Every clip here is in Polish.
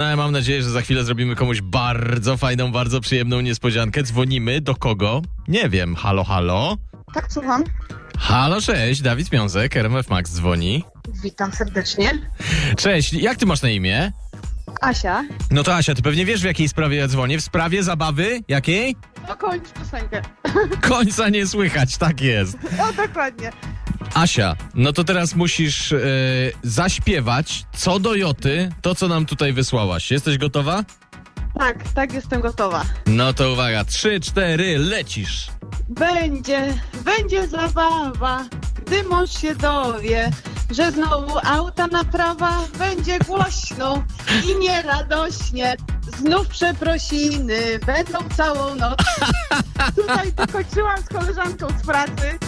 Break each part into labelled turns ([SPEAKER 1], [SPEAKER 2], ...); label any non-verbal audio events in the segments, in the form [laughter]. [SPEAKER 1] No, ja mam nadzieję, że za chwilę zrobimy komuś bardzo fajną, bardzo przyjemną niespodziankę. Dzwonimy do kogo? Nie wiem. Halo, halo.
[SPEAKER 2] Tak, słucham.
[SPEAKER 1] Halo, cześć, Dawid Miązek, RMF Max dzwoni.
[SPEAKER 2] Witam serdecznie.
[SPEAKER 1] Cześć, jak ty masz na imię?
[SPEAKER 2] Asia,
[SPEAKER 1] No to Asia, ty pewnie wiesz w jakiej sprawie ja dzwonię. W sprawie zabawy? Jakiej?
[SPEAKER 2] dokończ piosenkę.
[SPEAKER 1] Końca nie słychać, tak jest.
[SPEAKER 2] O, dokładnie.
[SPEAKER 1] Asia, no to teraz musisz e, zaśpiewać co do Joty to, co nam tutaj wysłałaś. Jesteś gotowa?
[SPEAKER 2] Tak, tak, jestem gotowa.
[SPEAKER 1] No to uwaga, trzy, cztery, lecisz.
[SPEAKER 2] Będzie, będzie zabawa, gdy mąż się dowie, że znowu auta naprawa będzie głośno i nieradośnie. Znów przeprosiny, będą całą noc. [laughs] Tutaj dokończyłam z koleżanką z pracy,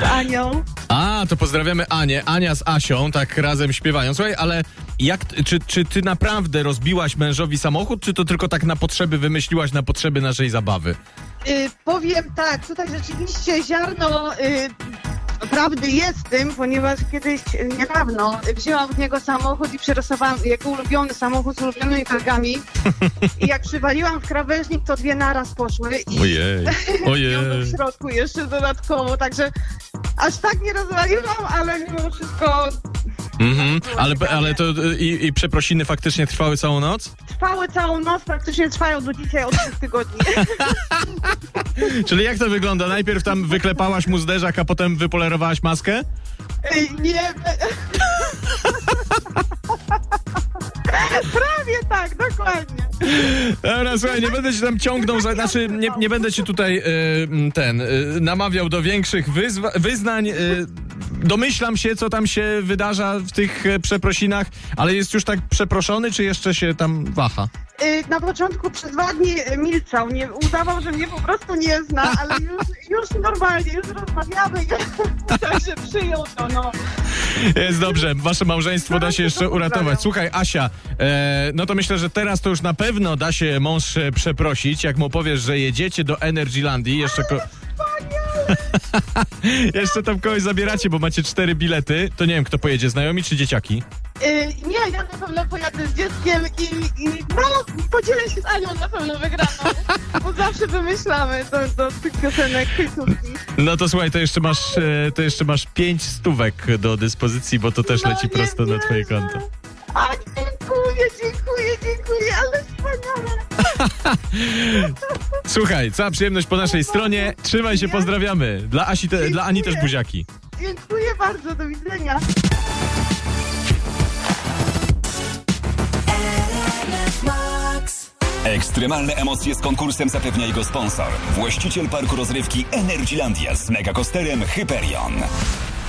[SPEAKER 2] z Anią.
[SPEAKER 1] A, to pozdrawiamy Anię. Ania z Asią tak razem śpiewają. Słuchaj, ale jak, t- czy, czy ty naprawdę rozbiłaś mężowi samochód, czy to tylko tak na potrzeby wymyśliłaś, na potrzeby naszej zabawy?
[SPEAKER 2] Y, powiem tak, tutaj rzeczywiście ziarno y, prawdy jest w tym, ponieważ kiedyś y, niedawno wzięłam od niego samochód i przerysowałam jego ulubiony samochód z ulubionymi targami. I jak przywaliłam w krawężnik, to dwie naraz poszły i
[SPEAKER 1] [laughs] Ojej,
[SPEAKER 2] ją w środku jeszcze dodatkowo, także aż tak nie rozwaliłam, ale mimo wszystko
[SPEAKER 1] Mhm. Ale, ale to y, i, i przeprosiny faktycznie trwały całą noc?
[SPEAKER 2] trwały całą noc, praktycznie trwają do dzisiaj od dwóch tygodni.
[SPEAKER 1] Czyli jak to wygląda? Najpierw tam wyklepałaś mu zderzak, a potem wypolerowałaś maskę?
[SPEAKER 2] Ej, Nie. [laughs] Prawie tak, dokładnie.
[SPEAKER 1] Dobra, słuchaj, nie będę cię tam ciągnął, za, znaczy nie, nie będę cię tutaj y, m, ten y, namawiał do większych wyzwa, wyznań. Y, domyślam się, co tam się wydarza w tych e, przeprosinach, ale jest już tak przeproszony, czy jeszcze się tam waha?
[SPEAKER 2] Ej, Y, Na początku przez dwa dni e, milczał, nie, udawał, że mnie po prostu nie zna, ale już, już normalnie, już rozmawiamy, także Tak przyjął to, no.
[SPEAKER 1] Jest dobrze, wasze małżeństwo da się jeszcze uratować. Słuchaj, Asia, e, no to myślę, że teraz to już na pewno da się mąż e, przeprosić, jak mu powiesz, że jedziecie do Energylandii, jeszcze ko- [laughs] jeszcze tam kogoś zabieracie, bo macie cztery bilety. To nie wiem, kto pojedzie, znajomi czy dzieciaki?
[SPEAKER 2] Ej, Y, Nie, ja na pewno pojadę z dzieckiem i, i no, podzielę się z Anią na pewno wygraną, bo zawsze wymyślamy do, do tych piosenek końcówki.
[SPEAKER 1] No to słuchaj, to jeszcze masz, e, to jeszcze masz pięć stówek do dyspozycji, bo to też
[SPEAKER 2] No,
[SPEAKER 1] leci
[SPEAKER 2] nie
[SPEAKER 1] prosto na twoje
[SPEAKER 2] wierzę.
[SPEAKER 1] konto.
[SPEAKER 2] A dziękuję, dziękuję, dziękuję, ale wspaniale.
[SPEAKER 1] Słuchaj, cała przyjemność po naszej stronie. Trzymaj się, pozdrawiamy. Dla, Asi te, dla Ani też
[SPEAKER 2] Dziękuję.
[SPEAKER 1] buziaki.
[SPEAKER 2] Dziękuję bardzo, do widzenia.
[SPEAKER 3] Ekstremalne emocje z konkursem zapewnia jego sponsor. Właściciel parku rozrywki Energylandia z megakosterem Hyperion.